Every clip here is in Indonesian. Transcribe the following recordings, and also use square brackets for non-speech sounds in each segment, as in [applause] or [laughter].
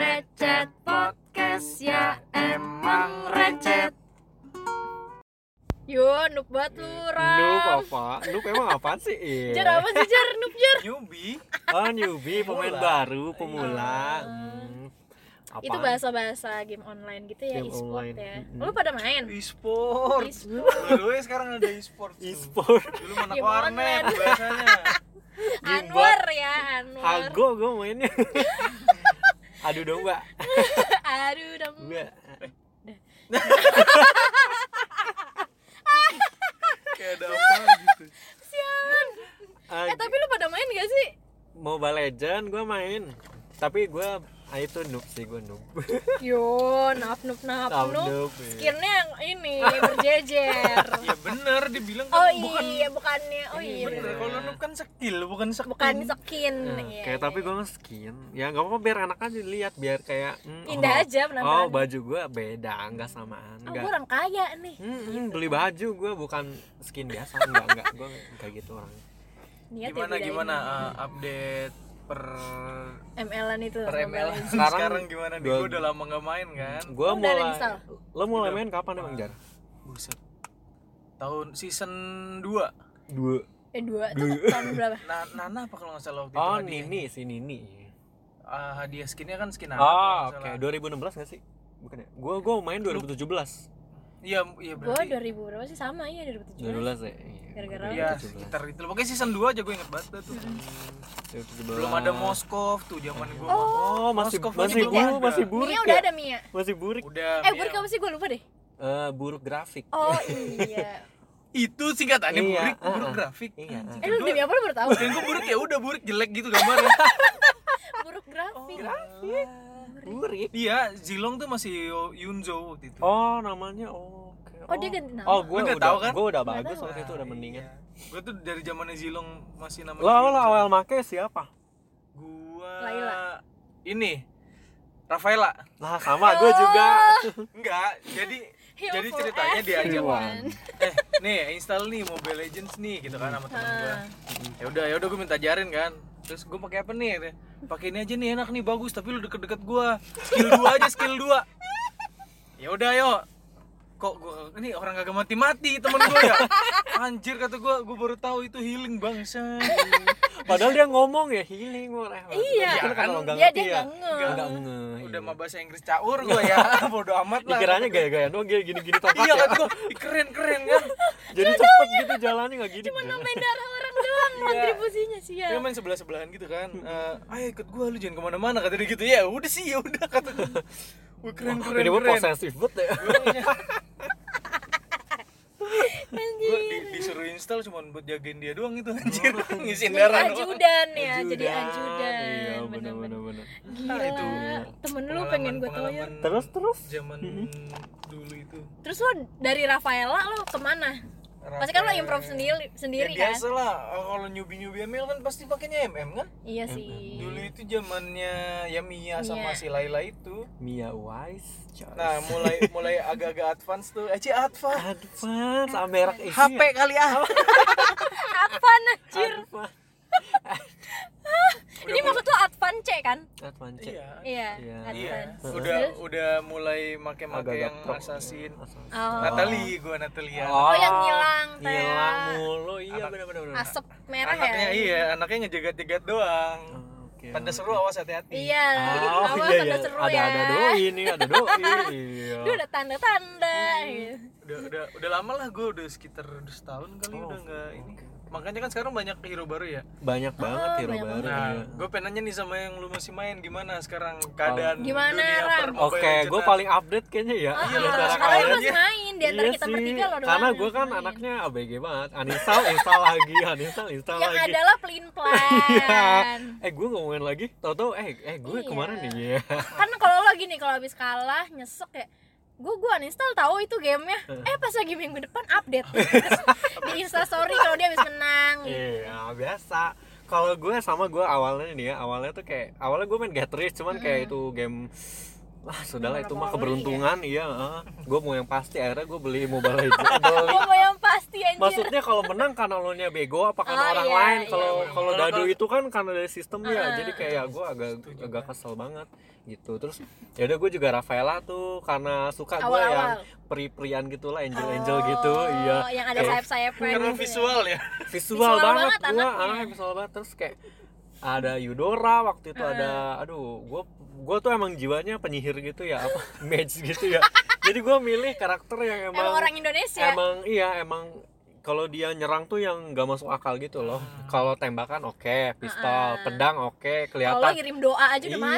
ya podcastnya emang recet Yo, noob banget lu, Noob Ram. apa? Noob emang apaan [laughs] sih? Iya. Jar apa sih Jar? Noob Jar. Newbie? Oh newbie, pemain Pemula. baru, pemula Iya. Hmm. Apaan? Itu bahasa-bahasa game online gitu ya, Game e-sport online. ya. Mm-mm. Lu pada main? E-sport. E-sport. Dulu ya, sekarang ada e-sport. tuh. E-sport Dulu mana Game warnet online. biasanya. Anwar ya, Anwar. Hago gue mainnya [laughs] Aduh dong mbak [laughs] Aduh, dong. Mbak Kayak ada apa gitu. Sian. Ah, Eh, tapi lu pada main gak sih? [laughs] Mobile Legend gue main Tapi gue ah, itu noob sih gue [laughs] noob Yo, nap nup nap Tahu nup. noob ya. Skinnya yang ini [laughs] berjejer. Ya bener dibilang kan Oh bukan iya, bukannya. Oh iya. bener. bener. Kalau noob kan skill, bukan skin. Bukan skin. Nah, Iya, kayak iya, tapi gue skin ya nggak apa-apa biar anak aja lihat biar kayak hmm, Indah oh, aja penampilan. oh baju gue beda nggak samaan Oh, nggak gue orang kaya nih. Hmm, hmm, beli baju gue bukan skin biasa enggak enggak gue kayak gitu orang Niat Gimana ya gimana uh, update per ML-an itu. per Mobile ML Legends. [laughs] sekarang, Sekarang gimana nih? gua- Gue udah lama gak main kan. gue Oh, Udah ada yang mulai install? lo mulai main kapan emang jar Buset. Tahun season 2. dua Eh, [laughs] dua tuh tahun berapa? Na Nana apa kalau nggak salah waktu oh itu? nini si nini Ah, hadiah skinnya kan skin anak. kalau oh nggak oke 2016 salah. nggak sih bukan ya gue gue main 2017 Iya, iya Gue berarti. 2000 berapa sih sama iya 2017. 2017 ya iya, Gara-gara gua Iya, 2017. sekitar itu. Pokoknya season 2 aja gue inget banget dah tuh. 2017. Belum ada Moskov tuh zaman gue. oh masih Moskov masih aja buru udah. masih burik Mia ya udah ada Mia. masih burik Udah. Eh, Mia. burik apa sih gue lupa deh. Eh, buruk grafik [laughs] Oh iya. Itu singkatannya Iya, burik, ah. buruk grafik. Iya, ah. Eh, lu demi apa lu baru tahu? Dan gue buruk ya udah buruk jelek gitu [laughs] gambarnya. Buruk Oh, grafik. grafik burik Iya, Zilong tuh masih Yunzo waktu itu. oh namanya oh oke. Oh, dia ganti nama. oh gue Lu udah nggak tahu kan? Iya. gue udah Nggak bagus tahu. waktu itu udah ya. mendingan Gue tuh dari zamannya Zilong masih namanya. lo lo Yunzo. awal make siapa Gua Laila. ini Rafaela. lah sama gue [laughs] juga Enggak, jadi Hero jadi for ceritanya dia Iya. aja everyone. eh nih install nih Mobile Legends nih gitu kan sama temen gue Ah. ya udah ya udah gue minta ajarin kan terus gue pakai apa nih pakai ini aja nih enak nih bagus tapi lu deket-deket gue skill 2 aja skill 2 ya udah yo kok gue ini orang kagak mati-mati temen gue ya anjir kata gue gue baru tahu itu healing bangsa padahal dia ngomong ya healing gue Iya. Dia dia enggak nge. nggak iya. nge udah mah bahasa Inggris caur gue ya bodo amat lah pikirannya gaya-gaya doang oh, gini gini gini topak iya ya kan gue keren keren kan jadi cepet gitu jalannya nggak gini Cuma [laughs] nambahin darah orang doang kontribusinya sih ya. dia Iya. main sebelah sebelahan gitu kan eh ayo ikut gua lu jangan kemana-mana kata dia gitu ya udah sih ya udah kata gue wah keren keren ini gue keren posesif banget [laughs] ya gue Anjir. disuruh install cuma buat jagain dia doang itu anjir Oh. [laughs] ngisiin Jadi darah doang. ajudan ya, jadi ajudan. iya bener bener Bener-bener. bener Gila, itu temen lu pengen gue tau ya. Pengalaman-pengalaman terus terus Mhm. zaman dulu itu Terus lo dari Rafaela lo kemana? Pasti kan lo improv sendiri sendiri ya, biasa kan? lah Oh, kalau newbie newbie ML kan pasti pakainya MM kan Iya sih. [laughs] dulu itu zamannya ya Mia sama Mia. si Laila itu Mia Wise Joyce. nah mulai mulai agak-agak advance tuh eh Ci, advance advance ah, merek isi HP ya? kali ah Apa anjir? Advance. Ini maksud lo Advance kan? Advance iya Iya. Iya. Iya, Advance. udah Terus? udah mulai make-make yang gaplok. assassin. Oh. Natalie, ya. gua Natalia. Oh, yang ngilang, Teh. Hilang mulu, iya Anak- benar-benar. Asap merah Anaknya ya. iya, anaknya ngejegat-jegat doang. Ah, iya. Tanda seru awas hati-hati. Iya, [laughs] Oh, awas iya, tanda iya. seru ada ya. ada doi nih, ada doi. [laughs] Iya. Dia udah tanda-tanda. Hmm. gitu. Udah udah udah lama lah gua udah sekitar udah setahun kali Oh, udah nggak oke, ini. oke, oke. Makanya kan sekarang banyak hero baru ya. Banyak banget hero Oh, banyak baru. iya. Nah, gue pengen nanya nih sama yang lu masih main gimana sekarang keadaan Gimana, dunia Ran? per Mobile Oke, gue Legends-an? paling update kayaknya ya. Ah, lu antara sekarang Karena kalian. lu aja. masih main di antara Iya kita sih, bertiga lo doang. Karena yang gue kan main. anaknya ABG banget. Uninstall, install lagi, uninstall, install yang lagi. adalah [laughs] pelin pelan. Iya. Eh, gue ngomongin lagi. Tahu-tahu eh eh gue Iya. kemarin nih. Iya. kan kalau lo gini kalau habis kalah nyesek ya gue gue uninstall tahu itu gamenya eh pas lagi minggu depan [laughs] update Terus di instastory kalau dia habis menang gitu. Iya biasa. Kalau gue sama gue awalnya nih ya awalnya tuh kayak awalnya gue main Get Rich cuman kayak itu game Wah, sudahlah itu Mobile mah Legends. keberuntungan, iya. Gue mau yang pasti, akhirnya gue beli Mobile Legends. [laughs] Beli. Gua mau yang pasti anjir Maksudnya kalau menang karena lo nya bego apa karena Oh, orang iya, lain? iya, Kalau iya. kalau Kalau- dadu kalau- itu kan karena dari sistemnya. Ah. Jadi kayak gue agak agak kesel banget gitu. Terus ya udah gue juga Rafaela tuh karena suka gue Awal-awal. Oh, yang pri-prian gitu lah, angel-angel gitu. Iya. yang ada Kayak sayap-sayapnya Karena gitu ya. visual ya. visual, Visual banget, banget gue anaknya. anaknya visual banget terus kayak ada Yudora waktu itu ada aduh gue gue tuh emang jiwanya penyihir gitu ya apa [laughs] mage gitu ya jadi gue milih karakter yang emang emang orang ya? Indonesia emang iya emang kalau dia nyerang tuh yang nggak masuk akal gitu loh kalau tembakan oke pistol Ah. pedang oke kelihatan kalau ngirim doa aja udah iya,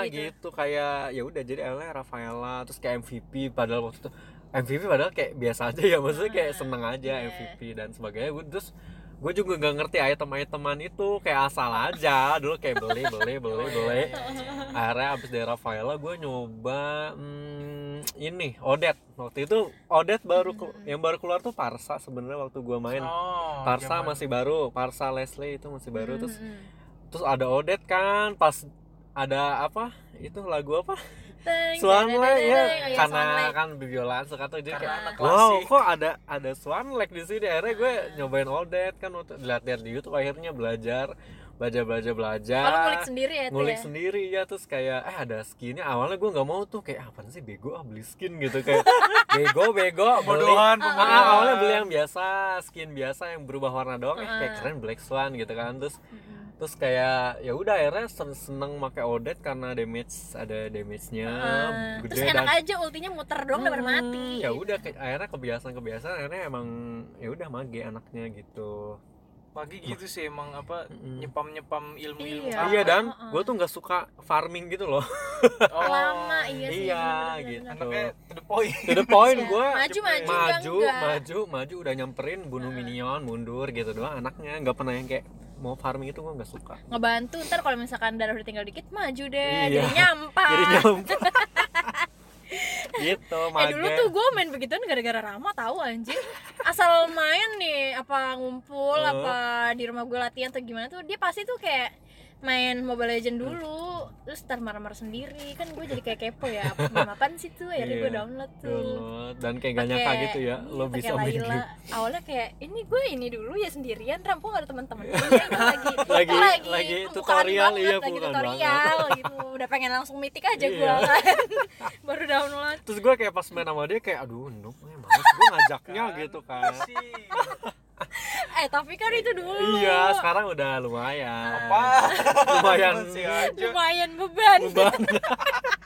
mati gitu. kayak ya udah jadi akhirnya Rafaela terus kayak MVP padahal waktu itu MVP padahal kayak biasa aja ya maksudnya kayak seneng aja iya. MVP dan sebagainya gue terus gue juga gak ngerti item-iteman itu kayak asal aja dulu kayak beli beli Oh, beli beli iya. akhirnya abis dari Rafaela gue nyoba hmm, ini Odet waktu itu Odet baru ke- Hmm. yang baru keluar tuh Parsa sebenarnya waktu gue main Oh, Parsa zaman- masih baru Parsa Leslie itu masih baru terus Mm-mm. terus ada Odet kan pas ada apa itu lagu apa Teng, teng, teng, Swanlag ya teng. Oh, iya, karena Swanlag. kan Biola Soekarno jadi Karena kayak anak wow klasik. kok ada ada Swanlag di sini akhirnya gue nyobain Odet kan waktu lihat-lihat di YouTube akhirnya belajar belajar belajar belajar kalau ngulik sendiri ya itu ngulik ya sendiri ya terus kayak eh ada skinnya awalnya gue nggak mau tuh kayak apa sih bego ah beli skin gitu kayak bego bego beli Bodohan, Oh, Iya. Ah, pembodohan. awalnya beli yang biasa skin biasa yang berubah warna doang eh Ah. kayak keren black swan gitu kan terus terus kayak ya udah akhirnya sen- seneng pakai odet karena damage ada damage nya Ah, gede terus enak dan aja ultinya muter doang udah Hmm, mati ya udah ke- akhirnya kebiasaan kebiasaan akhirnya emang ya udah mage anaknya gitu Pagi gitu sih emang apa Mm-mm. nyepam-nyepam ilmu-ilmu. Iya. iya dan Heeh. gue tuh nggak suka farming gitu [laughs] loh Oh. lama iya sih Iya, bener-bener, gitu. bener-bener. Anaknya to the [laughs] point. to the point Iya. gue Maju, maju, maju enggak, Ah. enggak. maju maju udah nyamperin bunuh minion mundur gitu doang anaknya nggak pernah yang kayak mau farming itu gue nggak suka ngebantu ntar kalau misalkan darah udah tinggal dikit maju deh Iya. [laughs] jadi nyampah jadi nyamper [laughs] gitu Eh Ah. mage dulu tuh gue main begituan gara-gara Rama tahu anjing Asal main nih apa ngumpul Oh. apa di rumah gue latihan atau gimana tuh dia pasti tuh kayak main Mobile Legend Hmm. dulu terus ntar marah-marah sendiri kan gue jadi kayak kepo ya apa game apaan sih tuh akhirnya gue Iya, download tuh download dan kayak gak nyangka Pakai- gitu ya lo iya, bisa pakai main Layla. game awalnya kayak ini gue ini dulu ya sendirian Ram kok gak ada teman-teman lagi [laughs] Lagi- lagi pembukaan tutorial, banget, iya, lagi bukan tutorial gitu udah pengen langsung mitik aja gue Iya. kan [laughs] baru download terus gue kayak pas main sama dia kayak aduh noob eh, males gue ngajaknya gitu kan Sih. eh tapi kan itu dulu iya sekarang udah lumayan Apa? lumayan Masih aja. lumayan beban beban [laughs]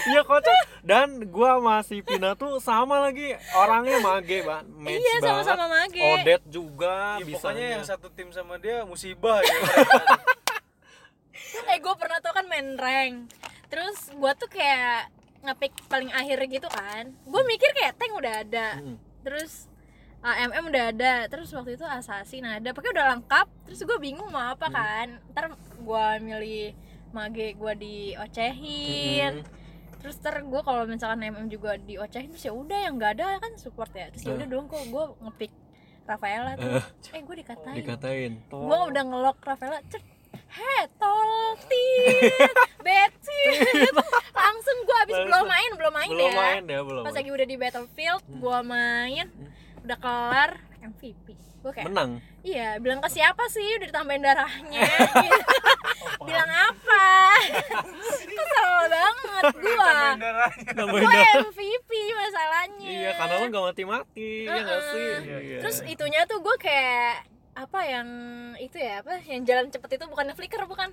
Iya kocak dan gua masih Pina tuh sama lagi orangnya mage banget, match Iya, banget. sama-sama mage. Odet juga Ya, bisa. pokoknya yang satu tim sama dia musibah ya. eh gue pernah tuh kan main rank terus gue tuh kayak ngepick paling akhir gitu kan gue mikir kayak tank udah ada terus uh, mm udah ada terus waktu itu assassin ada pakai udah lengkap terus gue bingung mau apa kan ntar gue milih mage gue diocehin terus ter gue kalau misalkan mm juga diocehin terus ya udah yang nggak ada kan support ya terus ya udah dong kok gue ngepick Rafaela tuh eh gue dikatain Hmm. dikatain. gue udah ngelok Rafaela cet he [laughs] toltit betit langsung gue abis belum main belum main belum ya main ya belum. pas main. Hmm. lagi udah di battlefield gue main udah kelar MVP gue kayak Menang. iya bilang ke siapa sih udah ditambahin [laughs] darahnya [laughs] gitu. bilang apa kesel banget gue Darahnya. Nambahin gue darah. MVP masalahnya Iya, karena lo gak mati-mati, ya nggak sih? Iya, iya. terus itunya tuh gue kayak apa yang itu ya apa yang jalan cepet itu bukan flicker bukan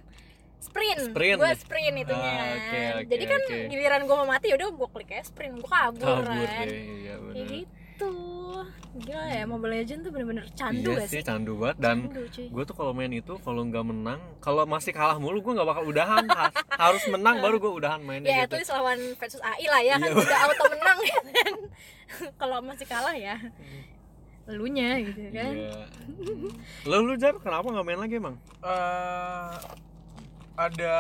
sprint, Sprint. gue sprint itunya Ah, oke, oke, jadi kan oke. giliran gue mau mati udah gue klik ya sprint gue kabur, kabur kan. deh, iya kayak benar. gitu gila ya Mobile Legend tuh bener-bener candu Iya gak sih sih candu banget dan candu cuy gue tuh kalau main itu kalau nggak menang kalau masih kalah mulu gue nggak bakal udahan Ha- harus menang baru gue udahan mainnya ya at gitu Iya. least lawan versus AI lah ya kan udah auto menang [laughs] ya kan kalau masih kalah ya elunya gitu kan Iya. Lo lu jar kenapa nggak main lagi emang? [laughs] Eh, ada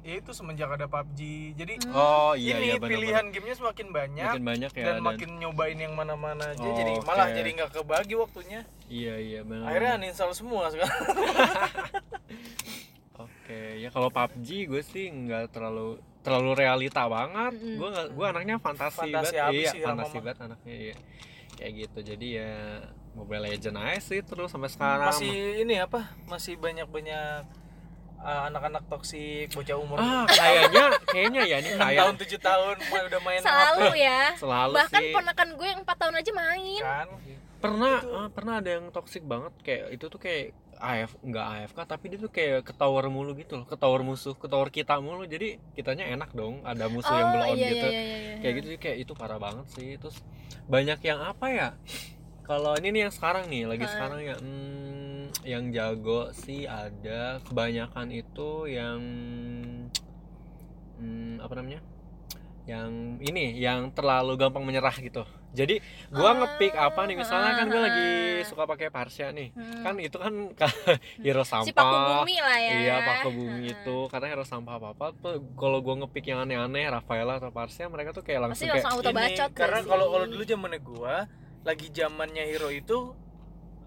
ya itu semenjak ada PUBG. Jadi Oh ini pilihan gamenya semakin banyak makin banyak ya dan makin nyobain yang mana-mana aja Oh, jadi malah oke. jadi nggak kebagi waktunya. iya iya benar. Akhirnya uninstall semua sekarang. Oke ya kalau PUBG gue sih nggak terlalu terlalu realita banget Mm-mm. gue nggak gue anaknya fantasi, Fantasi banget abis iya sih, Rama fantasi mah. banget anaknya iya kayak gitu jadi ya Mobile Legend aja sih terus sampai sekarang masih ini apa masih banyak banyak anak-anak toksik bocah umur ah kayaknya kayaknya ya ini 6 kayak tahun tujuh tahun ma- udah main selalu ya Iya. selalu bahkan sih ponakan gue yang 4 tahun aja apa main kan pernah itu- eh, pernah ada yang toxic banget kayak itu tuh kayak AF nggak AFK tapi dia tuh kayak ke tower mulu gitu loh ke tower musuh ke tower kita mulu jadi kitanya enak dong ada musuh yang blow on iya, gitu iya, iya, iya. kayak gitu sih, kayak itu parah banget sih terus banyak yang apa ya [laughs] kalau ini nih yang sekarang nih lagi Apaan? sekarang ya hmm, yang jago sih ada kebanyakan itu yang hmm, apa namanya yang ini yang terlalu gampang menyerah gitu jadi gua Ah, ngepick apa nih misalnya kan gua ah, lagi ah. suka pakai Parsia nih Hmm. kan itu kan [laughs] hero sampah si paku bumi lah ya Iya, Paku Bumi Heeh. itu karena hero sampah apa-apa tuh kalau gua ngepick yang aneh-aneh Rafaela atau Parsia mereka tuh kayak pasti langsung kayak langsung auto bacot ini karena gak sih? kalau kalau dulu zamannya gua lagi zamannya hero itu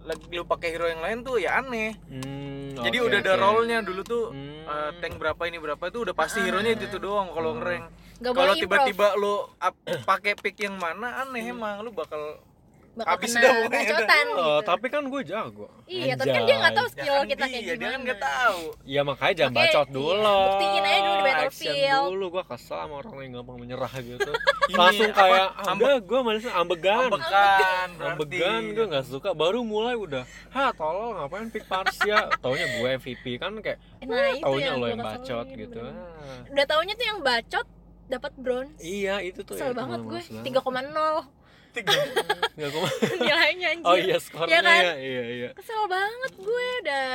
lagi lu pakai hero yang lain tuh ya aneh Hmm, jadi oke, udah ada oke. rollnya dulu tuh Hmm. eh, Kan, tank berapa ini berapa itu udah pasti hero nya itu tuh doang kalau Hmm. ngereng Nggak boleh kalau improv. tiba-tiba lu up- pakai pick yang mana aneh Hmm. emang lu bakal bakal habis kena dah pokoknya udah. [laughs] bacotan Oh, gitu. tapi kan gue jago. iya tapi kan dia nggak tahu Anjay. Ya skill kan kita kayak dia, gimana dia kan nggak tahu Ya makanya jangan Makanya, bacot iya, dulu. buktiin aja dulu di Action battlefield. dulu gue kesel sama orang yang gampang menyerah gitu. [laughs] Ini Langsung apa, kayak "Ah, ambek- ambek gue malah ambegan. ambekan berarti Ambegan gue nggak suka. Baru mulai udah. Ha tolol ngapain pick Parsia? Taunya gue MVP kan kayak nah itu taunya gua lo yang keselin, bacot gitu. bener. Ah. udah taunya tuh yang bacot dapat bronze Iya itu tuh Kesel ya, banget aduh, gue, males banget. [laughs] 3,0 Tiga. Nggak, [laughs] gua- nilainya anjir Oh iya skornya Iya kan? ya, iya iya Kesel banget gue udah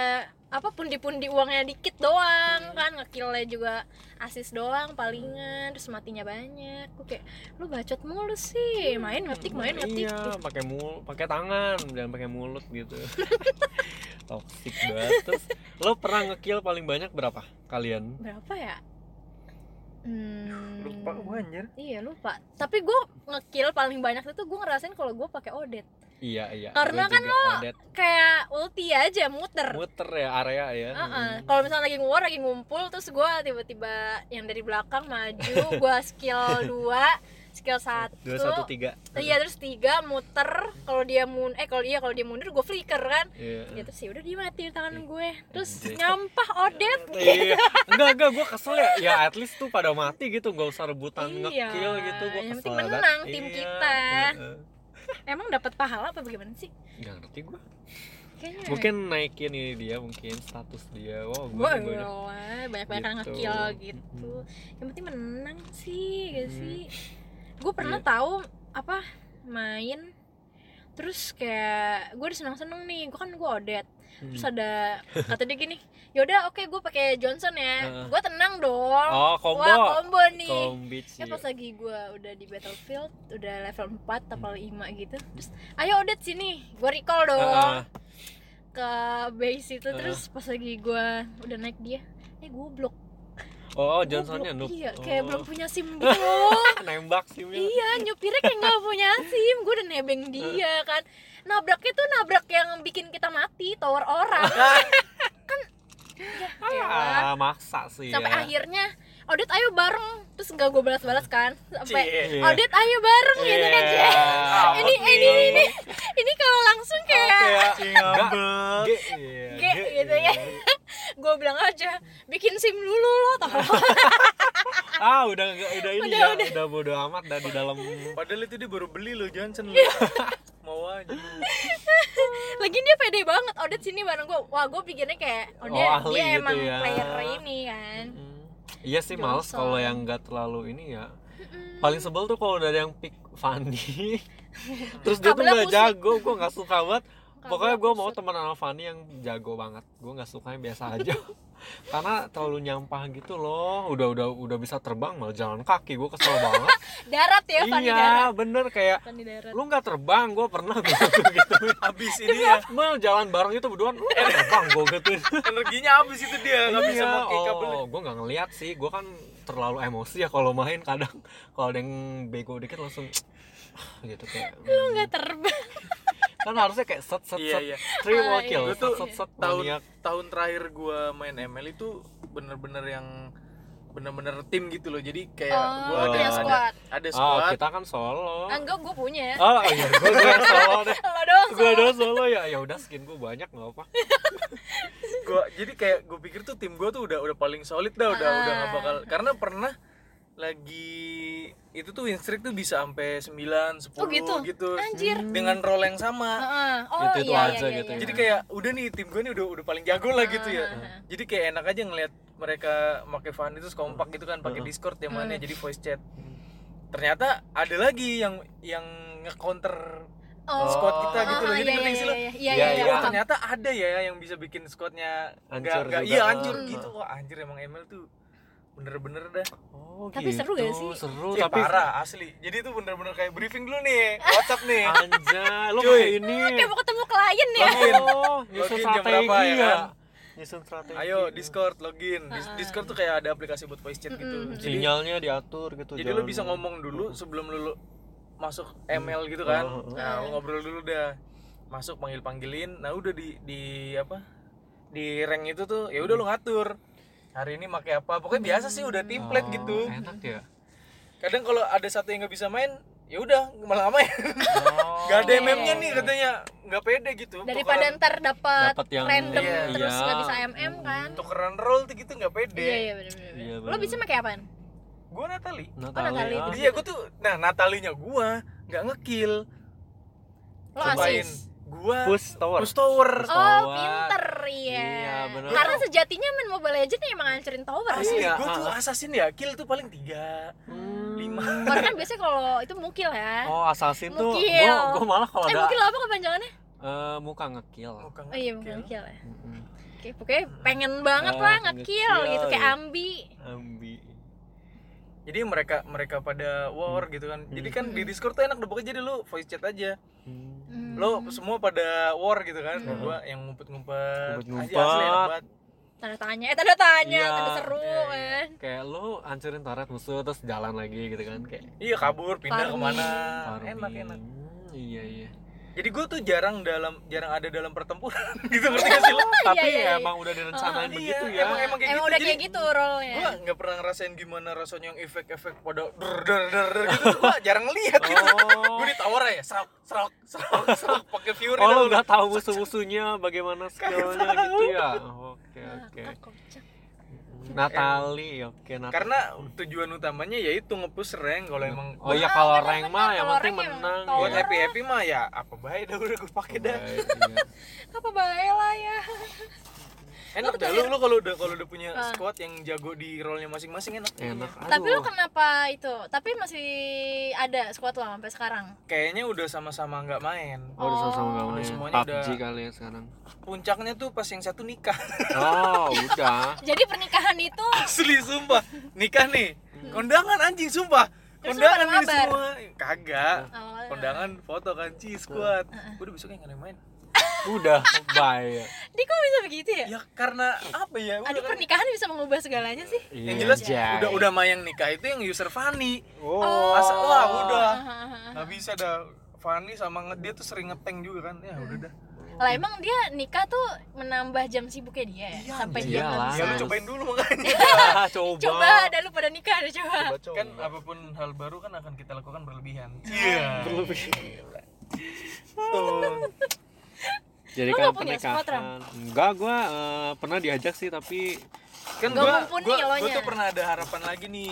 apa pundi-pundi uangnya dikit doang kan ngekillnya juga asis doang palingan terus matinya banyak gue kayak lu bacot mulu sih main ngetik main ngetik iya pakai mul pakai tangan jangan pakai mulut [laughs] gitu toxic banget terus lo pernah ngekill paling banyak berapa kalian berapa ya hmm, lupa gua anjir iya lupa tapi gue ngekill paling banyak itu gue ngerasain kalau gue pakai odet iya iya Karena Gua kan juga adet. kayak ulti aja muter muter ya area ya Heeh. Hmm. Kalau misalnya lagi nguar, lagi ngumpul, terus gue tiba-tiba yang dari belakang maju, [laughs] gue skill 2 skill dua satu 1 tiga Iya terus tiga muter, kalau dia mun eh kalau dia kalau dia mundur gue flicker kan, Iya. gitu sih udah dia mati di tangan gue, terus Anjay. nyampah odet, Iya, enggak enggak gue kesel ya. Ya at least tuh pada mati gitu, nggak usah rebutan Iya, ngekill gitu. Gue yang kesel penting banget. Iya. menang tim kita. heeh. emang dapat pahala apa bagaimana sih? Nggak ngerti gue. Kayaknya Mungkin naikin ini dia, mungkin status dia. Wow, gue Wah, banyak banyak banyak eh, yang Gitu. ngekill gitu. Yang penting menang sih, gak Mm. sih? Gue pernah Iya. tahu apa main terus kayak gue udah seneng seneng nih gue kan gue odet Hmm. terus [laughs] ada kata dia gini yaudah oke gue pakai Johnson ya Heeh. gue tenang dong Oh, combo. wah combo nih Kombi ya sih. pas lagi gue udah di battlefield udah level 4 Hmm. level 5 gitu terus ayo odet sini gue recall dong Ah, ah. ke base itu Heeh. terus pas lagi gua udah naik dia eh goblok Gua Oh, Johnsonnya blok- noob. iya kayak Oh. belum punya sim [laughs] gitu nembak sih Mil. iya nyupirnya kayak nggak punya sim gua udah nebeng dia kan nabraknya tuh nabrak yang bikin kita mati tower [laughs] orang kan ya elah. Ah, maksa sih. sampai ya. akhirnya audit ayo bareng terus nggak gua balas-balas kan sampai Iya. audit ayo bareng gitu kan Iya. ya Jay. ini ini ini ini kalau langsung kayak Kayak ngambek. Ge, iya, Ge, ge, gitu iya. ya. [laughs] Gua bilang aja bikin sim dulu lo tolong Ah, udah nggak- udah ini Udah, ya. udah. Udah bodo amat dan di dalam padahal itu dia baru beli lo Johnson lo Iya. mau aja [laughs] lu. lagi dia pede banget Odet sini bareng gue wah gue pikirnya kayak oh, Oh, dia, ahli dia gitu emang ya. player ini kan Mm. Iya sih males Johnson. kalau yang nggak terlalu ini ya. Mm-mm. Paling sebel tuh kalau udah ada yang pick Fanny. [laughs] Terus dia tuh Kabelnya nggak kusut. jago, gue nggak suka banget. Pokoknya gue mau kusut. teman sama Fanny yang jago banget. Gue nggak suka yang biasa aja. [laughs] Karena terlalu nyampah gitu loh. Udah udah udah bisa terbang malah jalan kaki. Gue kesel banget. [laughs] darat ya Fanny darat iya, bener kayak Fanny darat lu nggak terbang, gue pernah gue gitu. [laughs] habis ini ya Mal jalan bareng itu berduaan, lu nggak terbang gue gitu. energinya habis itu dia nggak bisa pakai kabel Iya, oh, gue nggak ngeliat sih. Gue kan terlalu emosi ya kalau main kadang kalau ada yang bego dikit langsung gitu kayak. lu nggak terbang kan harusnya kayak set set Iya, set iya. three Ah, more kill iya. set set set tahun maniak. tahun terakhir gua main ML itu bener-bener yang bener-bener tim gitu loh jadi kayak Oh, gua punya ada, squad. ada ada Oh, squad kita kan solo. Angga gue punya [laughs] Oh iya, gue gue yang solo deh. Lo doang Gue doang solo ya. Ya udah skin gue banyak nggak apa. gua jadi kayak gue pikir tuh tim gua tuh udah udah paling solid dah udah udah Ah. gak bakal karena pernah lagi itu tuh win streak tuh bisa sampai 9 10 Oh, gitu? Anjir. dengan role yang sama Heeh. Oh Itu- itu iya, aja iya, gitu iya, ya. jadi kayak udah nih tim gue nih udah udah paling jago lah gitu ya jadi kayak enak aja ngelihat mereka pakai fan itu kompak gitu kan pakai discord yang mana jadi voice chat ternyata ada lagi yang yang nge-counter Oh, squad kita gitu loh heeh, jadi iya, ngerti iya, sih lo iya, iya, Iya, iya, iya. oh paham. ternyata ada ya yang bisa bikin squadnya Hancur nggak nggak juga. iya hancur Hmm. gitu wah anjir emang ML tuh bener-bener dah Oh, Tapi gitu. seru gak sih? Seru, Cih, tapi parah asli jadi itu bener-bener kayak briefing dulu nih WhatsApp [laughs] nih Anjay, lo Cuy. kayak ini. kayak mau ketemu klien ya. nih Login. Oh, nyusun Login jam strategi berapa, ya ya. kan? Nyusun strategi. ayo Discord login Dis- Discord tuh kayak ada aplikasi buat voice chat gitu Mm-mm. Jadi- Sinyalnya diatur gitu. jadi jalan. lo bisa ngomong dulu sebelum lo masuk ML gitu kan Hmm. nah lo ngobrol dulu dah masuk panggil panggilin nah udah di di apa di rank itu tuh ya udah lo Mm. ngatur hari ini pakai apa pokoknya biasa sih udah template Oh, gitu Enak ya. kadang kalau ada satu yang nggak bisa main ya udah malah nggak main Oh. nggak ada MM-nya nih katanya nggak pede gitu daripada ntar dapat Dapat yang- random Iya. terus Iya. nggak bisa mm kan tukeran roll tuh gitu nggak pede iya iya benar benar Iya, lo benar. bisa pakai apaan gue Natali Natali. Natali. ah. iya gue tuh nah Natalinya gue nggak ngekill lo cobain asis gue Push tower. push tower Push oh Tower. pinter iya Iya, benar. karena sejatinya main mobile legend emang ngancurin tower Asli. Asli, Iya, gue tuh ah. assassin ya, kill tuh paling tiga Hmm. lima [laughs] Orang kan biasanya kalau itu mukil ya Oh, assassin tuh Mukil. gua gua malah kalau eh ada mukil apa kepanjangannya eh, muka ngekill. oh iya bukan mukil ya Mm-mm. oke pokoknya pengen banget Ah, lah ngekill ngekill, gitu kayak ya. ambi Ambi. Jadi mereka mereka pada war gitu kan. Jadi kan di Discord tuh enak deh pokoknya jadi lu voice chat aja. Hmm. Hmm. Lo semua pada war gitu kan. Gua yang ngumpet-ngumpet. Ngumpet-ngumpet. Aja, asli enak banget. tanda tanya eh tanda tanya Iya. tanda seru Iya, iya. kan Kayak lu hancurin turret musuh terus jalan lagi gitu kan kayak. Iya kabur Farming. pindah kemana. farming. Ah, Enak enak. Hmm, Iya iya. Jadi gue tuh jarang dalam jarang ada dalam pertempuran [laughs] gitu ngerti gak sih lo? Tapi iya, iya. emang udah direncanain begitu Iya, ya. [laughs] Emang emang kayak emang gitu. udah Jadi kayak gitu role-nya Gue nggak pernah ngerasain gimana rasanya yang efek-efek pada der der der der gitu. Gue jarang lihat gitu. Oh. gue ditawar ya serok serok [laughs] serok serok pakai fury Oh, dah. lu udah tahu musuh-musuhnya bagaimana skillnya gitu ya. Oke, oke. Kakak Ah, kocak. Natali, oke Natali. karena tujuan utamanya yaitu ngepush rank kalau emang Oh iya Ah, kalau bener-bener. rank mah yang Kalau penting rank emang menang. tahu. buat ya. happy happy mah ya apa baik dah udah gue pakai dah Baik, iya. apa baik lah ya enak dah lu lu kalau udah kalau udah punya Ah. squad yang jago di role nya masing-masing enak Iya, Enak. tapi lu aduh. kenapa itu tapi masih ada squad lo sampai sekarang kayaknya udah sama-sama nggak main Oh, udah sama-sama gak main. semuanya PUBG udah- kali ya sekarang. puncaknya tuh pas yang satu nikah [laughs] Oh, udah. jadi pernikahan itu asli sumpah nikah nih kondangan anjing sumpah Hmm. Terus lu kondangan pada ini mabar? semua kagak Oh. kondangan foto kan ci Ah. squad Ah. udah besoknya nggak ada yang main Udah, bye. di kok bisa begitu ya ya karena apa ya udah aduh kan- pernikahan bisa mengubah segalanya sih Iya, yang jelas Jay. udah udah mayang nikah itu yang user Fanny [laughs] Oh. Masa- wah udah Hahaha. nggak bisa dah Fanny sama nge- dia tuh sering ngeteng juga kan ya udah dah lah emang dia nikah tuh menambah jam sibuknya dia ya sampai dia nggak iyalah. bisa ya lu Harus. cobain dulu makanya Ah, Iya, coba. coba ada lu pada nikah ada coba Coba, coba. kan apapun hal baru kan akan kita lakukan berlebihan Perlu iya bikin. tuh Jadi Lu kan nggak punya squad, Ram? pernikahan. Enggak, gua eh, pernah diajak sih tapi kan Nggak gua, mumpuni gua, gua elonya. tuh pernah ada harapan lagi nih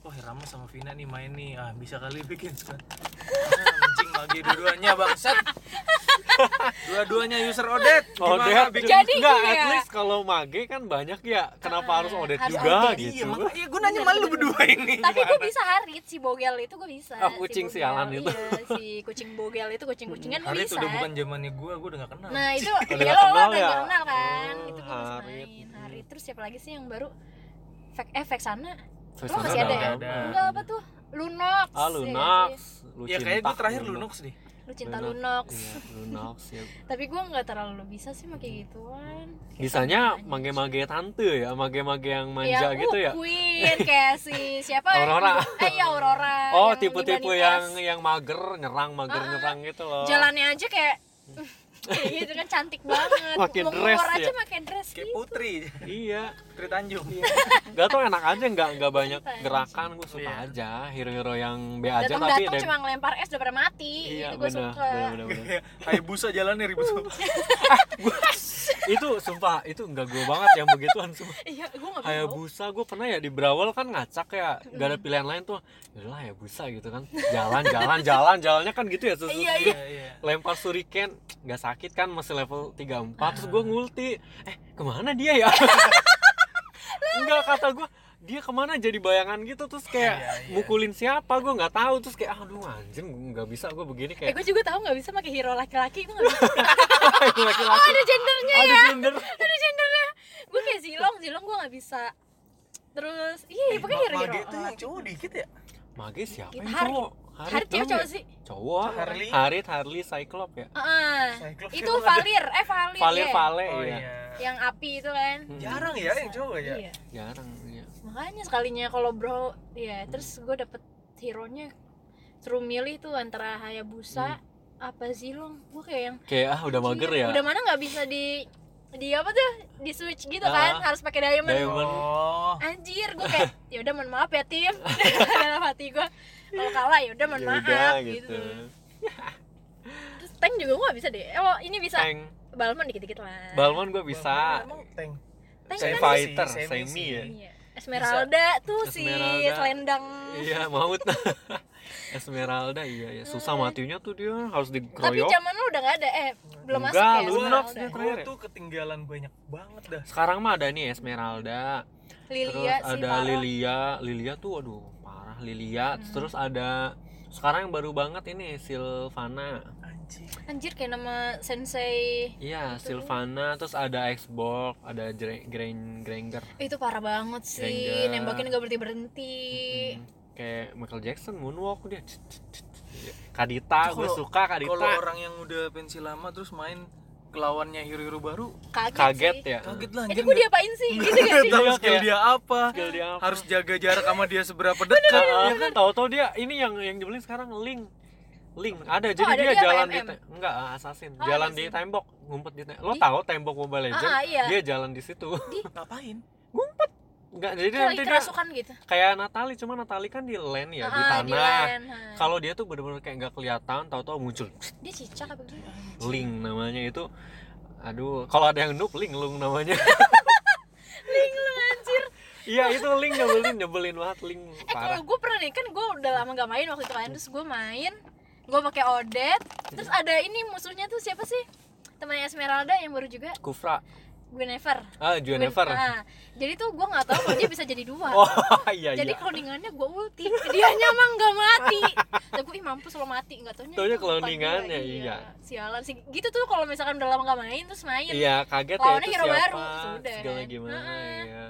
wah Rama sama Vina nih main nih ah bisa kali bikin squad Ah, anjing lagi dua-duanya bangsat dua-duanya user Odet Odet Oh, bikin Jadi enggak, gini at ya. Ah, least kalau mage kan banyak ya. Kenapa harus Odet harus juga Odet. gitu? iya makanya gue nanya malu berdua ini tapi gue bisa harit si bogel itu gue bisa Ah, kucing si sialan Bogel. itu. iya si kucing bogel itu kucing kucingan gue Hari itu bisa udah bukan zamannya gua, gua udah gak kenal. nah itu Udah ya nggak lo lo udah kenal ya? nggak kenal kan Oh, itu gue bisa Harit. main harit terus siapa lagi sih yang baru Fek, eh Vexana Face Lo Hunter masih ada udah ya? lama. enggak apa tuh Lunox Ah, ya Lunax. sih? Lu ya kayaknya cinta, gua terakhir Lunox deh. lu cinta Lunox Iya, Lunox ya. tapi gue nggak terlalu bisa sih make gituan Bisanya mage-mage gitu. tante ya, mage-mage yang manja yang gitu uh, ya. Queen kayak si siapa Aurora. eh ya Aurora Oh, yang Ah, tipe-tipe dibanding yang es. yang mager, nyerang, mager, nyerang gitu loh. jalannya aja kayak [laughs] kayak gitu kan cantik banget Pakai mau dress keluar aja ya? pakai dress kayak gitu putri iya [laughs] Putri Tanjung Gak tau enak aja nggak nggak banyak Santai. gerakan gue suka Iya. aja hero-hero yang B aja datang tapi datang ada- cuma ngelempar es udah pada mati iya itu gue bener, suka bener, bener, [laughs] bener. kayak busa jalannya ribut Iya, itu sumpah itu nggak gue banget yang begituan sumpah iya gue nggak tahu Hayabusa gue pernah ya di Brawal kan ngacak ya gak Hmm. ada pilihan lain tuh yaudahlah Hayabusa gitu kan jalan jalan jalan jalannya kan gitu ya susu Iya, iya. iya iya lempar suriken nggak sakit kan masih level 34 terus Ah. gue ngulti eh kemana dia [laughs] ya nggak kata gue dia kemana jadi bayangan gitu terus Ah, kayak Iya, iya. mukulin siapa gue nggak tahu terus kayak aduh anjing nggak bisa gue begini eh kayak [laughs] gue juga tahu nggak bisa pakai hero laki-laki gue nggak bisa oh laki-laki ada gendernya ada ya gender ada gendernya gue kayak zilong zilong gue nggak bisa terus Eh, iya pokoknya hero hero Mage itu yang cowok gitu. dikit ya mage siapa yang Harit. cowok hari cewek dong ya? cowok sih cowok Harley. Harit Harley Cyclop ya Heeh. Cyclops itu kan ada. valir eh valir Valir ya. Vale oh ya iya yang api itu kan Hmm. jarang ya yang cowok ya iya jarang ya makanya sekalinya kalau bro ya terus gue dapet hero nya suruh milih tuh antara Hayabusa apa Zilong gue kayak yang kayak ah Hmm. udah mager ya udah mana nggak bisa di di apa tuh di switch gitu kan Ah. harus pakai diamond Diamond. oh anjir gue [laughs] kayak ya udah mohon maaf ya tim [laughs] dalam hati gue kalau kalah ya udah mohon Ya maaf udah, gitu. gitu terus tank juga gue gak bisa deh eh, oh, ini bisa tank balmon dikit dikit lah Balmon gue bisa Emang tank tank Saya Semi kan fight. fighter sih, semi, semi sih. ya iya. Esmeralda tuh si Esmeralda. selendang iya maut [laughs] Esmeralda iya ya susah matinya tuh dia harus Nah. tapi dikeroyok zaman lu udah gak ada eh belum Enggak, masuk ya lu Esmeralda. nafsu tuh. Gua tuh ketinggalan banyak banget dah sekarang mah ada nih Esmeralda Lilia si terus ada Farah. Lilia Lilia tuh aduh parah Lilia Hmm. terus ada sekarang yang baru banget ini Silvana anjing anjir kayak nama sensei iya Itu. Silvana terus ada Xbox ada Gre- Gren Granger Eh, itu parah banget sih Granger. nembakin gak berhenti berhenti Iya. Hmm, kayak Michael Jackson moonwalk dia Cet, cet, cet. Kadita Itu gue kalau- suka Kadita kalau orang yang udah pensi lama terus main kelawannya hero-hero baru kaget, kaget sih. ya kaget lah ini anjir gue diapain sih gitu gak sih Nggak tahu Iya, skill kayak- dia apa skill dia apa. harus jaga jarak sama dia [laughs] seberapa dekat Ya Heeh, kan tahu-tahu dia ini yang yang dibeli sekarang Link Link ada jadi Oh, ada dia, dia apa, jalan di MM? te- enggak ah, assassin Oh, jalan di assassin. tembok ngumpet di tembok lo Di- tahu tembok Mobile Legends Ah, ah, iya. dia jalan di situ ngapain [laughs] enggak jadi Kayak nanti lagi dia kerasukan gitu kayak Natali cuma Natali kan di land ya di Ah, tanah land. Ah. kalau dia tuh bener-bener kayak nggak kelihatan tahu-tahu muncul dia cicak apa gimana Eh, Link namanya itu aduh kalau ada yang noob Link Lung [laughs] namanya Ling lu anjir Iya itu link nyebelin nyebelin banget link eh kalau parah. gue pernah nih kan gue udah lama gak main waktu itu kan terus gue main gue pakai odet terus ada ini musuhnya tuh siapa sih temannya Esmeralda yang baru juga Kufra, Guinevere ah Jennifer. Gwen- ah, jadi tuh gue nggak tahu kalau dia bisa jadi dua [laughs] Oh iya jadi iya. cloningannya gue ulti dia nyamang nggak mati tapi gue ih mampus lo mati nggak taunya Taunya itu bukan cloningannya, dia. iya. sialan sih gitu tuh kalau misalkan udah lama gak main terus main Iya kaget ya Lawannya itu hero siapa baru, sudah. segala gimana Heeh. ya.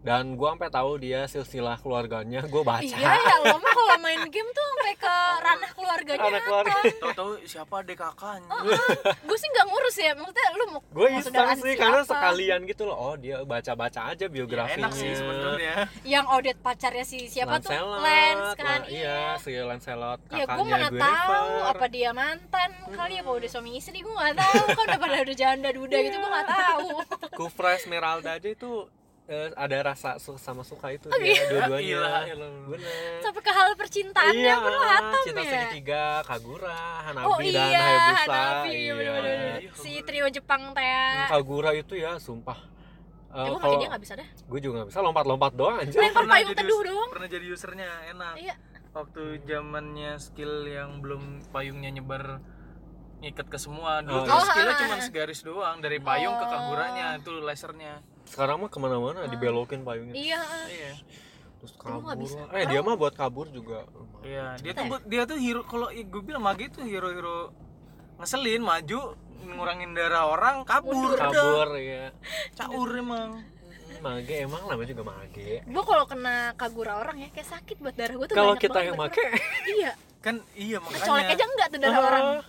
Dan gua sampai tahu dia silsilah keluarganya gua baca. [laughs] iya ya lo mah kalau main game tuh sampai ke ranah keluarganya Anak keluarga. tahu-tahu siapa adek kakaknya gue sih nggak ngurus ya maksudnya lu mau Gue mau iseng saudaraan sih siapa? karena sekalian gitu loh. Oh dia baca-baca aja biografinya. enak sih sebenarnya yang audit pacarnya si siapa tuh Lancelot, Lens kan Lan- iya, si Lancelot ya kakaknya gue mana tahu apa dia mantan kali ya apa udah suami istri gue nggak tahu kan udah pada udah janda duda gitu gue nggak tahu [laughs] Kufra Esmeralda aja itu eh, ada rasa su- sama suka itu Oh, dia gitu. dua-duanya. Iya, iya. Bener. sampai ke hal percintaannya iya, pun lo hatam cinta ya segitiga Kagura Hanabi oh dan iya Hayabusa Hanabi iya. bener, bener, bener. si trio Jepang teh ya, Kagura itu ya sumpah Eh, gue kalau pakai dia nggak bisa dah gue juga nggak bisa lompat-lompat doang aja lempar Pernah payung jadi teduh us- doang pernah jadi usernya enak iya waktu zamannya skill yang belum payungnya nyebar ngikat ke semua Oh, dulu iya. tuh skillnya Oh, cuma ah. segaris doang dari payung ke Oh. kaguranya itu lasernya sekarang mah kemana-mana dibelokin payungnya iya iya terus Aduh, kabur Ah. nggak bisa. eh dia mah buat kabur juga iya Cepet dia tuh buat- dia tuh hero kalau gue bilang mage tuh hero-hero ngeselin maju ngurangin darah orang kabur udah. kabur ya caur emang mage emang namanya juga mage gue kalau kena kagura orang ya kayak sakit buat darah gue tuh kalau banyak kita banget yang buat make darah. iya kan iya kecolek makanya aja enggak tuh darah orang ah,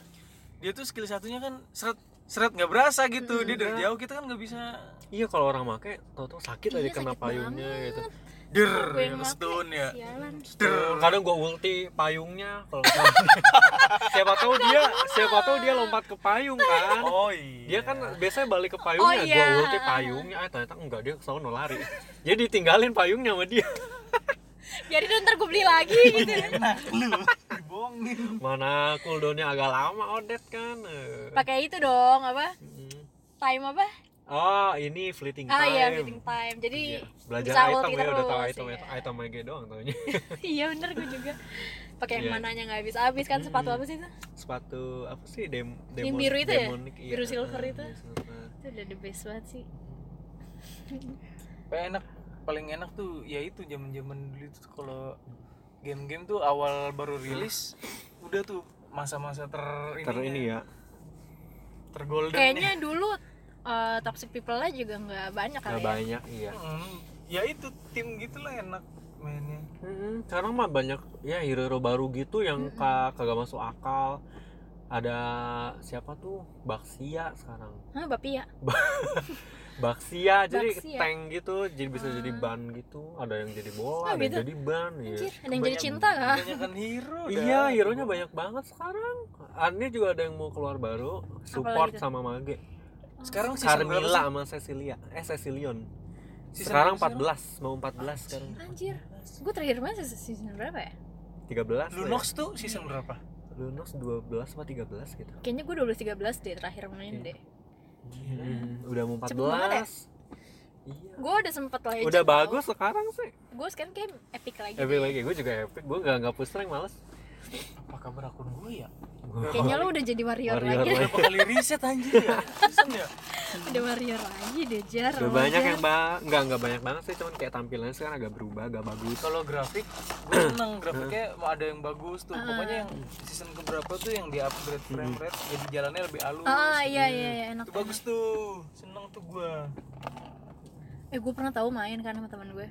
dia tuh skill satunya kan seret seret nggak berasa gitu dia dari jauh kita kan nggak bisa iya kalau orang make tau-tau sakit aja Iya, kena sakit payungnya gitu der Gue yang make, stone ya sialan Tuh, kadang gue ulti payungnya kalau nggak [laughs] salah. siapa tahu dia siapa tahu dia lompat ke payung kan oh iya dia kan biasanya balik ke payungnya Oh, gue iya. ulti payungnya eh ternyata enggak dia kesana lari [laughs] jadi ditinggalin payungnya sama dia [laughs] jadi dong ntar gue beli lagi gitu enak lu dibohongin mana cooldownnya agak lama odet kan Eh, pakai itu dong apa mm. time apa oh ini fleeting time ah iya fitting time jadi Iya. belajar bisa item ulti ya udah tahu terus, item iya. item IG doang taunya [laughs] iya bener gue juga pakai yang Iya. mananya nggak habis habis kan sepatu Mm-mm. apa sih itu sepatu apa sih dem Yang demon- biru itu ya? demonic, iya. Biru silver Ah, itu? biru silver. itu udah the best banget sih Kayak enak paling enak tuh ya itu zaman-zaman dulu tuh kalau game-game tuh awal baru rilis udah tuh masa-masa ter ter ini ya tergolden kayaknya dulu eh, toxic people nya juga nggak banyak nggak kali ya banyak iya Hmm, ya itu tim gitulah enak [laughs] mainnya Mm-mm, sekarang mah banyak ya hero-hero baru gitu yang ka- kagak masuk akal. Ada siapa tuh? Baksia sekarang. Hah, bapi Iya. ya Baksia jadi Baxia. tank gitu, jadi bisa jadi ban gitu. Ada yang jadi bola, Oh, ada yang gitu? jadi ban iya. anjir ada yang jadi Banyak- cinta kah kebanyakan hero Iya, dah. hero-nya banyak banget sekarang. Ini juga ada yang mau keluar baru, support tuh? sama Mage. sekarang Oh, season berapa Carmilla sama Cecilia. Eh Cecilion. Season sekarang berapa 14, mau 14 sekarang. anjir gue terakhir main se- season berapa ya 13. sih? tuh Lunox tuh season berapa ya? iya. Lunox 12 apa 13 gitu. kayaknya gue 12 13 deh terakhir main Iya. deh Hmm, udah mau 14 Iya kan? Cepet banget ya? Iya. gue udah sempet legend Udah bagus sekarang sih. gue sekarang kayak epic lagi Epic lagi, gue juga epic. Gue gak nggak push rank males. apa kabar akun gue ya kayaknya lu udah jadi warrior, Warrior lagi lagi. berapa kali riset anjir Iya. ya season ya [laughs] udah warrior lagi deh jar Udah banyak yang ba nggak nggak banyak banget sih, cuman kayak tampilannya sekarang agak berubah, agak bagus. kalau grafik gue seneng grafiknya mau ada yang bagus tuh pokoknya yang season keberapa tuh yang di upgrade frame rate jadi jalannya lebih halus Hmm. ah iya iya iya, enak itu bagus tuh seneng tuh gue [laughs] Eh gue pernah tahu main kan sama teman gue.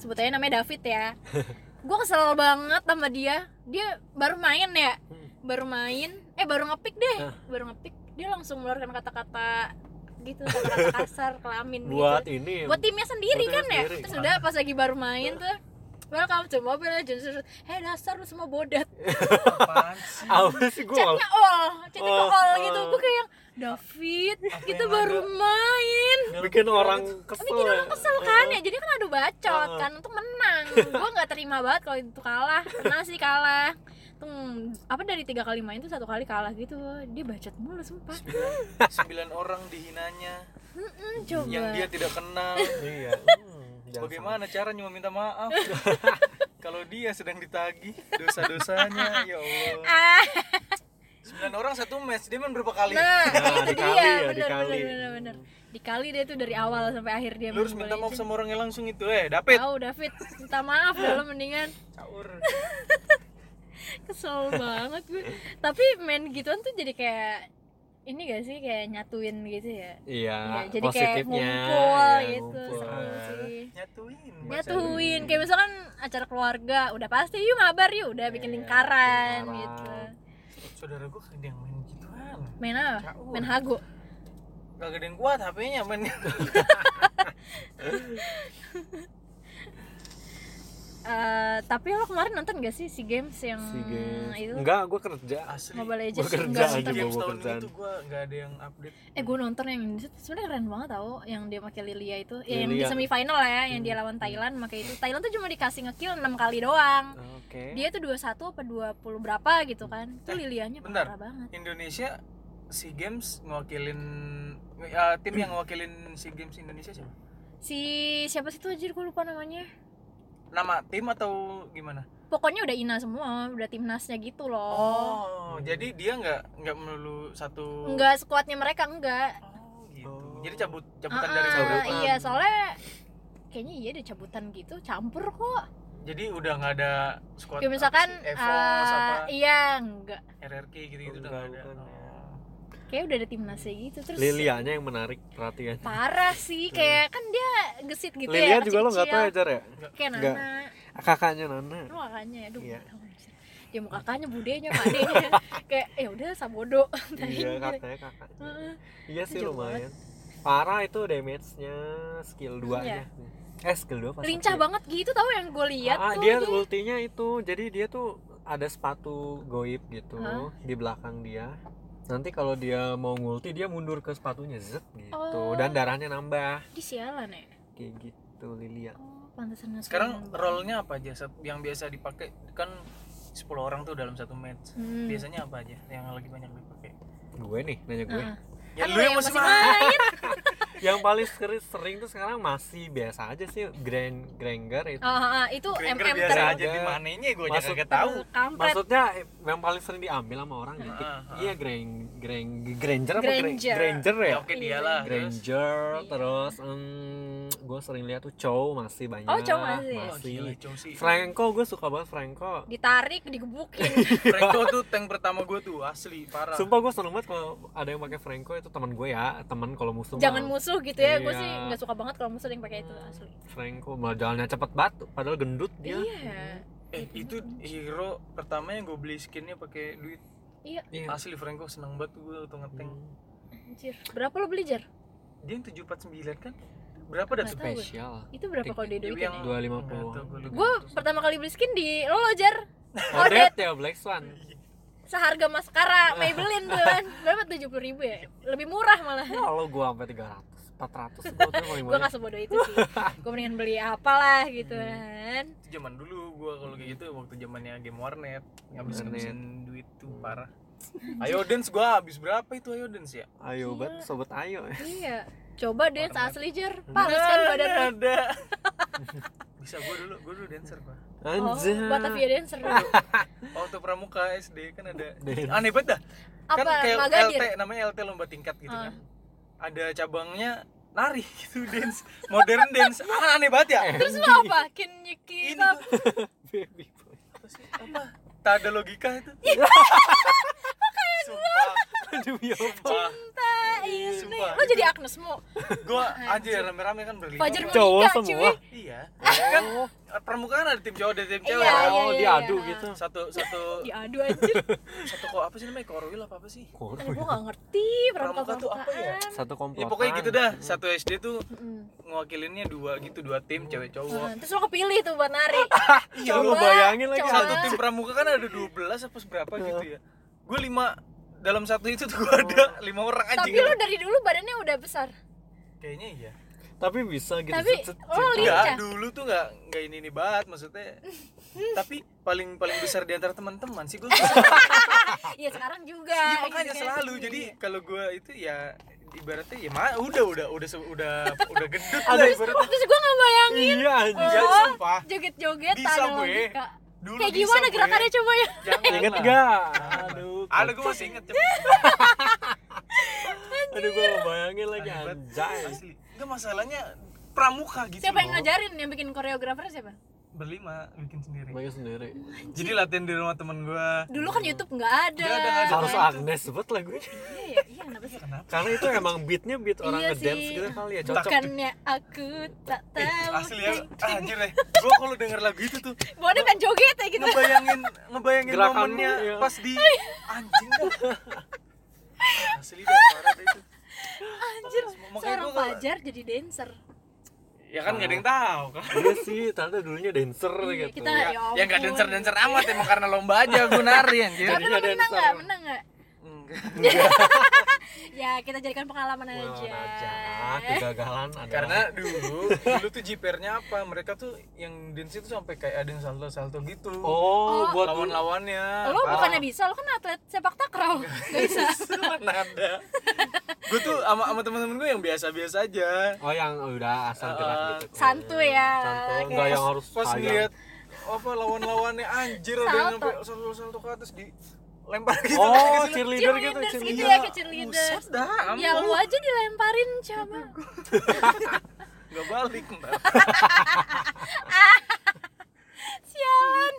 Sebut aja namanya David [laughs] ya. gue kesel banget sama dia. Dia baru main ya, baru main. Eh baru ngepick deh, Hah. baru ngepick. Dia langsung mengeluarkan kata-kata gitu, kata-kata [laughs] kasar, kelamin Buat gitu. ini. Buat timnya sendiri buat kan timnya ya. sendiri. Terus udah pas lagi baru main tuh Welcome to Mobile Legends. Terus, Hei dasar lu semua [laughs] bodat. apaan sih Apa sih gue? Chatnya all, chatnya tuh Oh, all gitu. oh. Gue kayak yang, David, kita yang baru main. Bikin orang kesel. bikin orang kesel kan ya jadi kan adu bacot Heeh. kan untuk menang gue nggak terima banget kalau itu kalah pernah sih kalah tuh apa dari tiga kali main tuh satu kali kalah gitu dia bacot mulu sumpah [laughs] sembilan orang dihinanya Mm-mm, coba yang dia tidak [laughs] kenal Iya. Hmm, jangan bagaimana cara cuma minta maaf kalau dia sedang ditagih dosa-dosanya ya Allah ah sembilan orang satu match dia main berapa kali nah Nah, itu dikali dia ya, bener, bener dikali. bener bener dikali dia tuh dari awal sampai akhir dia lu harus main minta bola maaf aja. sama orangnya langsung itu eh David Tahu, David minta maaf dalam mendingan caur kesel banget gue tapi main gituan tuh jadi kayak ini gak sih kayak nyatuin gitu ya Iya, Ya, jadi kayak positifnya. ngumpul iya, gitu seru ngumpul. sih Eh, nyatuin nyatuin kayak misalkan acara keluarga udah pasti yuk ngabar yuk udah bikin Iya, lingkaran lingkaran. gitu saudara gue ada yang main gituan main apa Caur. main hago gak ada yang kuat HP-nya [laughs] main Eh, tapi lo kemarin nonton gak sih si games yang Si games. itu Enggak, gue kerja. asli Mobile Gua Legends kerja enggak aja, nonton. gua. games bawa tahun kerjaan. itu gue gak ada yang update eh gue nonton yang ini sebenarnya keren banget tau yang dia pakai Lilia itu ya, yang di Lilia. Hmm, semifinal ya yang dia lawan Thailand pakai itu Thailand tuh cuma dikasih ngekill 6 kali doang Oke. dia tuh 21 apa 20 berapa gitu kan Eh, itu Lilianya bentar. parah banget Indonesia si games mewakilin eh, tim yang mewakilin si games Indonesia siapa si siapa sih tuh anjir gue lupa namanya nama tim atau gimana pokoknya udah ina semua udah timnasnya gitu loh oh jadi dia nggak nggak melulu satu enggak sekuatnya mereka enggak oh gitu Oh. jadi cabut cabutan Ah, dari ah, cabut cabutan. iya soalnya kayaknya iya deh cabutan gitu campur kok jadi udah nggak ada squad kayak misalkan apa sih, EVOS ah, apa iya enggak RRQ gitu gitu udah Enggak, nggak ada bukan, ya. Oh. kayak udah ada timnasnya gitu terus Lilianya yang menarik perhatian. parah sih kayak kan dia gesit gitu Hmm. Lilia ya juga lo nggak tahu ya kecil-kecil. Jar ya? kayak Enggak. Nana Kakaknya Nana. lu kakaknya ya aduh Iya. dia Ya, mau kakaknya budenya padenya [laughs] kayak eh udah [laughs] sabodo Iya kakaknya kakaknya. gitu. Heeh. Iya sih Jauh lumayan. Parah itu damage-nya skill 2 nya. eh skill dua pas Iya. lincah aku- banget gitu tau yang gue lihat Ah, tuh dia dia. ultinya itu jadi dia tuh ada sepatu goib gitu Hah? di belakang dia nanti kalau dia mau ngulti dia mundur ke sepatunya zet gitu Oh. dan darahnya nambah Dia sialan ya kayak gitu Lilia oh pantesan nggak Sekarang suka. role-nya apa aja Sat- yang biasa dipakai? Kan 10 orang tuh dalam satu match. Hmm. Biasanya apa aja yang lagi banyak dipakai? gue nih nanya gue Heeh. Ya Kan lu yang masih main. [laughs] main. yang paling seri- sering tuh sekarang masih biasa aja sih grand granger itu Oh, ah, ah, itu Krinker MM biasa ter terus. aja di mananya gue aja Masuk kagak tahu. kampret maksudnya eh, yang paling sering diambil sama orang gitu Ah, ah. iya grand grand granger apa Gran- Granger. granger ya Ya oke dia lah. Terus Granger Iya. terus gue sering lihat tuh Chow masih banyak Oh, Chow masih. Oh, gila, Chow sih. [laughs] Franco gue suka banget Franco ditarik digebukin Franco tuh tank pertama gue tuh asli parah. sumpah gue seneng banget kalau ada yang pakai Franco itu teman gue ya teman kalau musuh jangan mah. musuh gitu ya gue sih Iya. nggak suka banget kalau musuh yang pakai itu asli Franco malah jalannya cepet banget padahal gendut dia iya Eh itu hero pertama yang gue beli skinnya pakai duit. Iya. Asli Franco seneng banget gue tuh ngetank. Anjir. berapa lo beli jar Dia yang 749 kan? Berapa dah Nggak tuh? tahu. [laughs] spesial itu berapa kalau dia Dia duitin ya? yang Dua lima puluh. Nggak tahu, gua lupa. gue pertama kali beli skin di lo lo jar Oh, Odet ya Black Swan seharga [laughs] maskara Maybelline tuh kan berapa tujuh puluh ribu ya lebih murah malah kalau gue sampai 300 400 gue tuh paling gue banyak nggak sebodoh itu [laughs] sih gue mendingan beli apalah gitu Hmm. kan Itu zaman dulu gua kalau kayak gitu waktu zamannya game warnet ngabis ngabisin duit tuh parah ayo dance gua habis berapa itu ayo dance ya ayo bet sobat ayo iya coba deh Warnet. asli jar panas kan badan lo ada [laughs] bisa gua dulu gua dulu dancer gua oh anjir Batavia dancer waktu pramuka SD kan ada Dance. aneh banget dah kan apa kayak LT magadir namanya LT lomba tingkat gitu Ah. kan ada cabangnya nari [laughs] gitu dance modern dance ah, aneh banget ya terus lo apa can you keep ini up gua- baby boy apa sih? apa tak ada logika itu Iya. [laughs] Sumpah, [laughs] aduh ya apa sumpah. cinta ini Sumpah. Iya. lo jadi Agnes mo gua aja rame-rame kan berlima Fajar kan. mau Cowok nikah semua. cuy iya kan permukaan ada tim cowok dan tim Oh. Iya, cewek iya, oh iya, diadu iya. gitu satu satu diadu [laughs] anjir satu kok apa sih namanya korwil apa apa sih Aduh, gue gak ngerti pramuka Pramuka tuh apa ya? pramukaan. satu komplotan ya pokoknya gitu dah satu SD tuh Mm-mm. ngewakilinnya dua gitu dua tim Nah, cewek cowok terus lo kepilih tuh buat [laughs] nari [laughs] Iya, lu bayangin lagi coba. satu tim pramuka kan ada 12 apa berapa gitu ya gue lima dalam satu itu tuh gue ada lima orang Oh. anjing tapi lo dari dulu badannya udah [laughs] besar kayaknya iya tapi bisa gitu Tapi, oh, set, set, set. lo lihat- Lincah. Enggak, dulu tuh enggak enggak ini ini banget maksudnya. Tapi paling paling besar di antara teman-teman sih gue. ya sekarang juga Iya gitu makanya kan. selalu. Jadi kalau gue itu ya ibaratnya ya mah udah udah udah se- udah udah [laughs] gendut Ada lah ibaratnya. terus gue gak bayangin iya anjir Ya Oh. sumpah. joget-joget Bisa ada gue. logika Dulu kayak bisa gimana gue. Iya, gerakannya coba ya Jangan inget lah. gak Eh, aduh Ada gue masih inget cepet. aduh gue bayangin lagi Hebat. anjay Asli. Enggak masalahnya pramuka gitu. siapa yang loh. ngajarin yang bikin koreografer siapa Berlima bikin sendiri. Bayangin sendiri Jadi latihan di rumah temen gue. dulu kan YouTube nggak ada Nggak ada, nggak ada. kan? harus Agnes buat lah gue iya iya, iya kenapa sih Kenapa? karena itu emang beatnya beat orang Iya ngedance sih. gitu kali ya cocok bukannya aku [laughs] tak Eh, tahu asli ya, ah, anjir deh. Gue kalau denger lagu itu tuh, Bukannya kan joget ya gitu Oh, ngebayangin ngebayangin Gerakan momennya lu, iya. pas di anjing dah. Asli dah parah dah itu. anjir Makanya seorang gua- Fajar jadi dancer Ya kan nggak ada yang tahu kan. iya sih ternyata dulunya dancer Iya, gitu kita- Ya, Ya ya nggak ampun. dancer dancer amat emang karena lomba aja gue nari anjir. tapi Jadinya lo menang dancer. nggak menang nggak Enggak. ya kita jadikan pengalaman Wow, aja Eh, aja kegagalan adalah Karena dulu dulu tuh jipernya apa? Mereka tuh yang dance itu sampai kayak ada yang salto salto gitu. oh, buat lawan-lawannya. lo bukannya bisa lo kan atlet sepak Oh, takraw nggak [laughs] bisa ada. gue tuh sama sama teman-teman gue yang biasa-biasa aja. oh yang udah asal gerak Uh, gitu santuy ya Santuy, Kayak- enggak yang harus pas sayang. ngeliat apa lawan-lawannya anjir ada yang Salto. sampai salto-salto ke atas di lempar gitu oh cheerleader gitu cheerleaders gitu cheerleader ya kayak cheerleaders [laughs] Buset dah, ya lu ampun. aja dilemparin coba nggak balik mbak sialan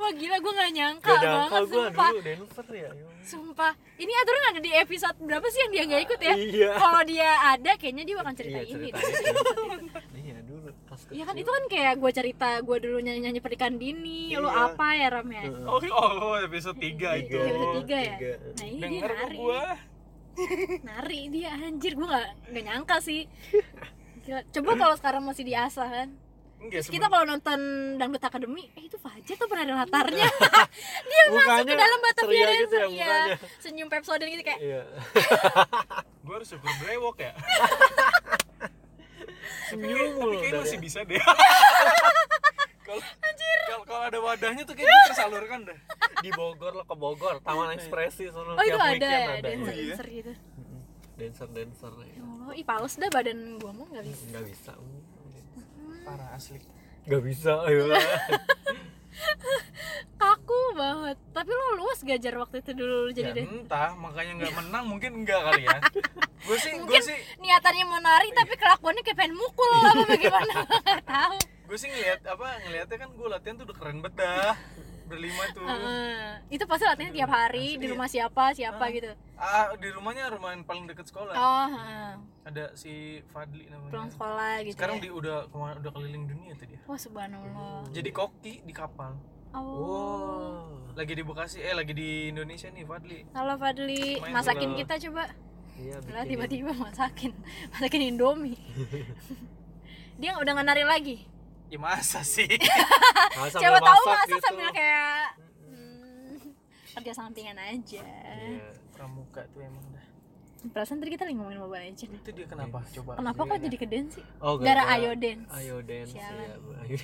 wah gila gue nggak nyangka Gak nyangka banget gue sumpah dulu dancer ya ya. Iya, sumpah ini aturan ada di episode berapa sih yang dia nggak ikut ya Iya. kalau dia ada kayaknya dia bakal cerita Iya ini cerita deh. [laughs] Iya dulu pas Iya kan kecil. itu kan kayak gue cerita gue dulu nyanyi nyanyi pernikahan dini lo Iya. apa ya Ram ya Heeh. oh, oh episode 3 itu Iya, episode tiga ya tiga. nah ini dia denger kok nari gua nari dia anjir gue nggak nggak nyangka sih Gila. coba kalau sekarang masih diasah kan Terus Enggak, kita kalau nonton Dangdut Academy, eh itu Fajar tuh pernah ada latarnya. [laughs] Dia masuk Iya. Mukanya ke dalam ceria Batavia gitu ya, Dancer, ya. mukanya. Senyum Pepsodent gitu kayak, [laughs] Iya. Gue harus syukur brewok ya. Senyum Tapi mulu kayaknya dari- masih bisa deh. Kalau kalau- kalau ada wadahnya tuh kayaknya tersalurkan dah. di Bogor lo ke Bogor, Taman Ekspresi sono oh itu ada Iya. tiap weekend ya, ada. dancer Iya. dancer gitu. Dancer dancer. ya. Ya Allah, ih pales dah badan gua mah nggak bisa. Nggak bisa. uh, Parah asli. Nggak bisa. [laughs] iya. ayolah. Kaku banget. Tapi lo luas gajar waktu itu dulu jadi Ya, deh. entah makanya nggak menang mungkin enggak kali [laughs] ya gue sih gue Mungkin sih niatannya mau nari tapi kelakuannya kayak pengen mukul lo [laughs] apa bagaimana nggak tahu. gue sih ngeliat apa ngeliatnya kan gue latihan tuh udah keren banget dah berlima tuh Heeh. itu pasti latihannya tiap hari di rumah siapa siapa gitu. iya. ah di rumahnya rumah yang paling deket sekolah Oh, heeh. ada si Fadli pulang namanya sekolah gitu. Nah, sekarang ya. di Oh. udah kemana udah keliling dunia tuh dia Wah subhanallah. jadi koki di kapal Oh. Wow. lagi di Bekasi eh lagi di Indonesia nih Fadli Halo Fadli, Main masakin bola. kita coba. Iya, Lah bikin. tiba-tiba masakin, masakin [laughs] Indomie. Dia udah nggak nari lagi. ya masa [laughs] sih Nah, sambil Siapa tahu masak masak gitu. sambil kayak hmm, kerja sampingan aja. Iya. pramuka tuh emang dah Perasaan tadi kita lagi ngomongin Mobile Legends. itu dia kenapa coba Kenapa kok jadi ke dance sih? Iya, Oh, Gara gara-gara Ayo Dance. Ayo dance Sialan. ya. Bu. [laughs] Ayo.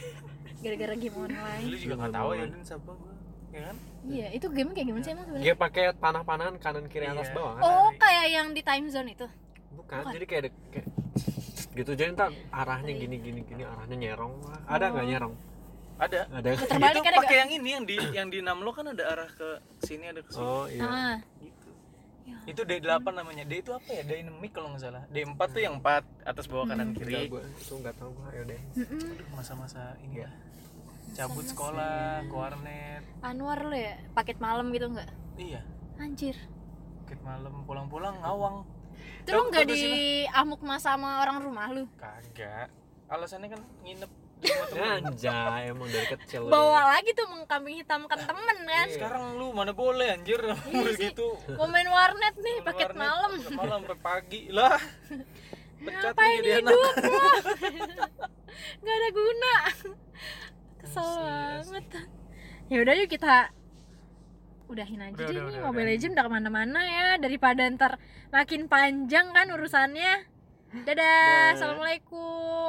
Gara-gara game lu Iya. online. juga nggak tahu ya dan siapa gue ya kan Iya, itu game kayak gimana sih emang sebenarnya? Dia pakai panah-panahan kanan kiri atas Iya. bawah kan? Oh, kayak yang di time zone itu. Bukan, jadi kayak, ada- kayak gitu jadi ntar Iya. arahnya gini gini gini arahnya nyerong lah. Ada nggak nyerong? ada Ada. Putar itu balik Oh. ada pakai nggak? yang ini yang di yang di enam lo kan ada arah ke sini ada ke sini Oh iya. Ah, gitu Ya. itu D8 namanya D itu apa ya dynamic kalau nggak salah D4 tuh yang 4 atas bawah kanan Enggak, kiri gue itu nggak tahu gue ayo dance. mm-mm. masa-masa ini lah cabut sekolah ke warnet Anwar lo ya, paket malam gitu nggak? iya Anjir. Ket malam pulang-pulang ngawang Itu lo Tau- nggak tau gak sih diamuk mas sama orang rumah lu? kagak alasannya kan nginep di rumah temen Anjay, emang dari kecil. udah. Bawa lagi tuh mengkambing [laughs] hitamkan temen kan? sekarang lu mana boleh anjir [laughs] Iya sih. gitu Mau main warnet nih, paket warnet, malam. sampai malam sampai pagi [laughs] lah pecat lu Ngapain jadi anak hidup lo? [laughs] Gak ada guna. Kesel Asli, banget. Ya udah yuk kita udahin aja Udah, deh udah, nih udah, Mobile udah. Legends udah kemana-mana ya daripada ntar makin panjang kan urusannya. Dadah, Dah. assalamualaikum.